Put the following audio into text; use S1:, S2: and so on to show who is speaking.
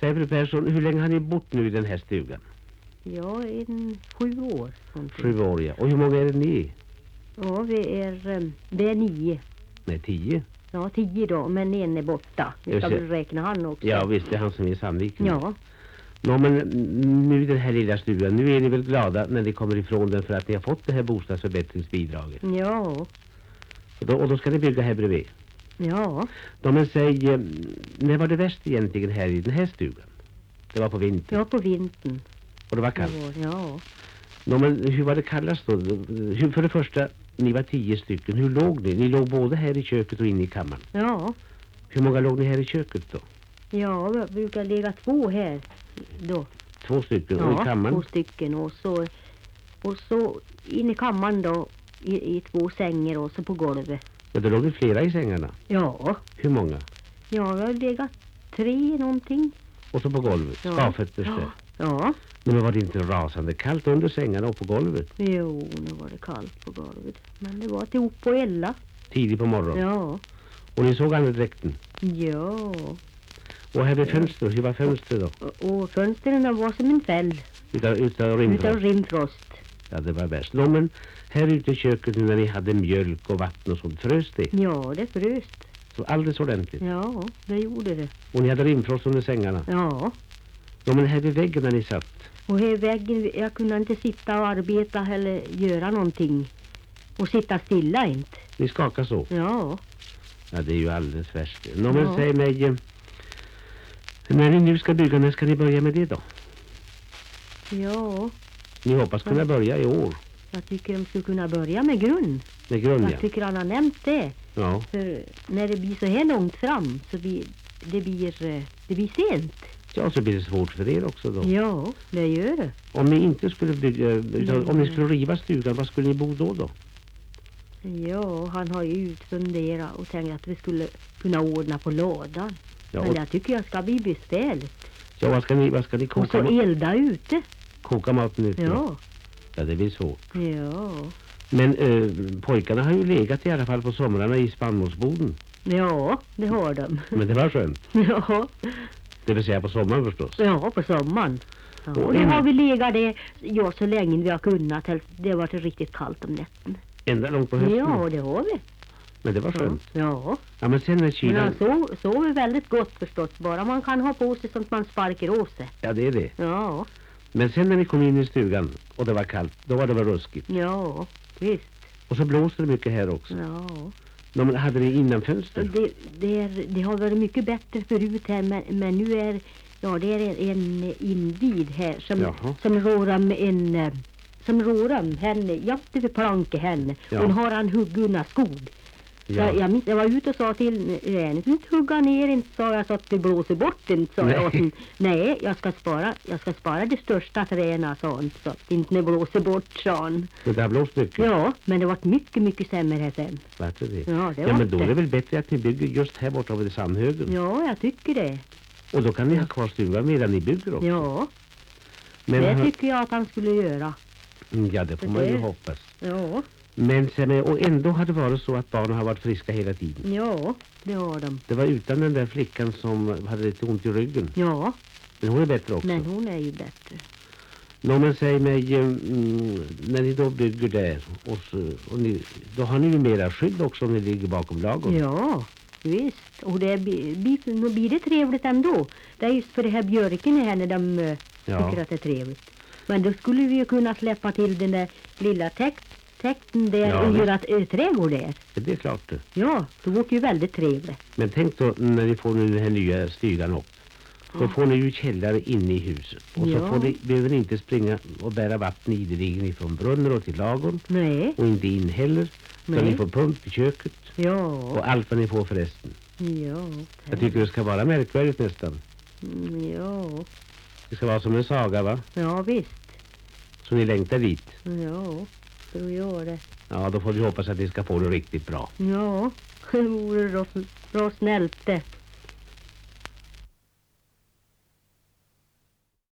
S1: Säg fru Persson, hur länge har ni bott nu i den här stugan?
S2: Jag är en sju år. någonting.
S1: Sju år, ja. Och hur många är det ni är?
S2: Ja, vi är, em, vi är nio.
S1: Nej, tio?
S2: Ja, tio då, men en är borta. Nu
S1: Just
S2: ska
S1: det.
S2: du räkna han också.
S1: Ja, visst, det är han som är i Sandviken.
S2: Ja,
S1: Nå, men mm, nu i den här lilla stugan, nu är ni väl glada när ni kommer ifrån den för att ni har fått det här bostadsförbättringsbidraget.
S2: ja,
S1: Och då, och då ska ni bygga här bredvid.
S2: ja.
S1: Ja, men säg, eh, när var det värst egentligen här i den här stugan? Det var på vintern
S2: Ja, på vintern.
S1: och det var
S2: det
S1: kallt.
S2: var- Ja.
S1: Nå, men hur var det kallast då? Hur, för det första, ni var tio stycken. Hur låg ni? Ni låg både här i köket och inne i kammaren.
S2: ja,
S1: Hur många låg ni här i köket då?
S2: ja, jag brukar ligga två här då.
S1: Två stycken och i
S2: Ja,
S1: kammaren?
S2: två stycken och så, och så in i kammaren då i, i två sängar och så på golvet.
S1: Men det låg ju flera i sängarna.
S2: Ja,
S1: Hur många?
S2: jag har legat tre någonting.
S1: Och så på golvet,
S2: Ja.
S1: skavfötters där.
S2: Ja, ja.
S1: Men var det inte rasande kallt under sängarna och på golvet?
S2: Jo, nu var det kallt på golvet. Men det var till upp och elda.
S1: Tidigt på morgonen.
S2: Ja.
S1: Och ni såg aldrig dräkten.
S2: Ja.
S1: Och här vid fönstret, hur var fönstret då?
S2: Och, och fönstren de var som en fäll
S1: Utav, utav rymdfrost?
S2: utav rimfrost.
S1: Ja, det var värst. Nå, men här ute i köket nu när ni hade mjölk och vatten och sånt, frös det?
S2: Ja, det frös.
S1: Så alldeles ordentligt.
S2: Ja, det gjorde det.
S1: Och ni hade rimfrost under sängarna?
S2: Ja.
S1: Ja, men här vid väggen när ni satt?
S2: Och här i väggen, jag kunde inte sitta och arbeta eller göra någonting. Och sitta stilla inte.
S1: Ni skakade så?
S2: Ja.
S1: Ja, det är ju alldeles värst. Nå, men
S2: Ja.
S1: säg mig... eh, När ni nu ska bygga, när ska ni börja med det då?
S2: Ja.
S1: Ni hoppas kunna börja i år?
S2: Jag tycker de skulle kunna börja med grund.
S1: Med grund,
S2: Jag
S1: Mm, ja.
S2: tycker han har nämnt det.
S1: ja.
S2: För när det blir så här långt fram så blir det blir, eh, det blir sent.
S1: Ja, så blir det svårt för er också då.
S2: Ja, det gör det.
S1: Om ni inte skulle bygga, utan
S2: Nej.
S1: om ni skulle riva stugan, var skulle ni bo då då?
S2: Ja, han har ju utfunderat och tänkt att vi skulle kunna ordna på lådan.
S1: Ja,
S2: Men
S1: och,
S2: jag tycker jag ska bli beställt.
S1: ja vad ska ni, vad ska ni
S2: Och så
S1: koka, ma-
S2: elda ute.
S1: koka maten ute?
S2: Ja,
S1: ja, det blir svårt.
S2: ja,
S1: Men eh, pojkarna har ju legat i alla fall på somrarna i
S2: Mm.
S1: spannmålsboden.
S2: ja, det har de.
S1: Men det var skönt.
S2: Ja,
S1: Det vill säga på sommaren förstås.
S2: ja på sommaren. Ja, och det har vi legat det ja, så länge vi har kunnat. helst- Det har varit riktigt kallt om nätterna.
S1: Ända långt på hösten.
S2: Ja, det har vi.
S1: Men det var skönt.
S2: Ja,
S1: Ja, men sen när
S2: men
S1: kylan...
S2: han sov, sover väldigt gott förstås. Bara man kan ha på sig sånt man sparkar åt sig.
S1: Ja, det är det.
S2: Ja,
S1: Men sen när ni kom in i stugan och det var kallt, då var det väl ruskigt.
S2: ja, visst.
S1: Och så blåste det mycket här också.
S2: Ja.
S1: Ja, men hade ni innanfönster?
S2: Det, det, är, det har varit mycket bättre förut här, men, men nu är ja, det är en invid här som,
S1: Jaha.
S2: som rår om en eh, som rår om henne, jätte vid planke henne.
S1: Ja.
S2: Hon har han hugguna skog. Så Jag, minns- jag var ute och sa till henne, du inte hugga ner inte, sa jag, så att det blåser bort den, sa
S1: Nej.
S2: jag. åt hon. Nej, jag ska spara, jag ska spara de största träna, sa hon, så att det inte det blåser bort, sa hon.
S1: Men det har blåst mycket.
S2: Ja, men det vart mycket, mycket sämre här sen.
S1: Vart det det?
S2: Ja, det
S1: ja,
S2: var
S1: men då är
S2: det.
S1: det väl bättre att ni bygger just här borta vid Sandhögen.
S2: Ja, jag tycker det.
S1: Och då kan ni ha kvar stugan medan ni bygger också.
S2: Ja.
S1: men,
S2: det
S1: han-
S2: tycker jag att han skulle göra.
S1: Mm, ja, det får
S2: Det
S1: man ju
S2: är-
S1: hoppas.
S2: Ja,
S1: Men sen, är- och ändå har det varit så att barnen har varit friska hela tiden.
S2: ja, det har de.
S1: Det var utan den där flickan som hade lite ont i ryggen.
S2: Ja,
S1: Men hon är bättre också.
S2: men hon är ju bättre.
S1: Nå, men säg mig, eh, mm, när ni då bygger där, och så, och ni, då har ni ju mera skydd också om ni ligger bakom lagen.
S2: Ja, visst. Och det blir, blir- nog blir det trevligt ändå. Det är just för det här björken här när de eh,
S1: Ja.
S2: tycker att det är trevligt. Men då skulle vi ju kunna släppa till den där lilla täkt, täkten där
S1: Ja,
S2: och
S1: visst.
S2: göra ett ö, trädgård där.
S1: Det är klart det.
S2: Ja, det vore ju väldigt trevligt.
S1: Men tänk då när ni får nu den här nya stugan upp. Då får ni ju källare inne i huset. Och så
S2: Ja.
S1: får ni, behöver ni inte springa och bära vatten ideligen ifrån brunnen och till lagorn.
S2: Nej,
S1: Och inte in heller. Så
S2: Nej.
S1: ni får pump i köket.
S2: ja,
S1: Och allt vad ni får förresten.
S2: ja,
S1: Jag tycker det ska vara märkvärdigt nästan.
S2: Mm, ja,
S1: Det ska vara som en saga va?
S2: ja visst,
S1: Så ni längtar dit.
S2: ja, tror jag det.
S1: Ja, då får vi hoppas att ni ska få det riktigt bra.
S2: Ja, det vore då bra snällt det.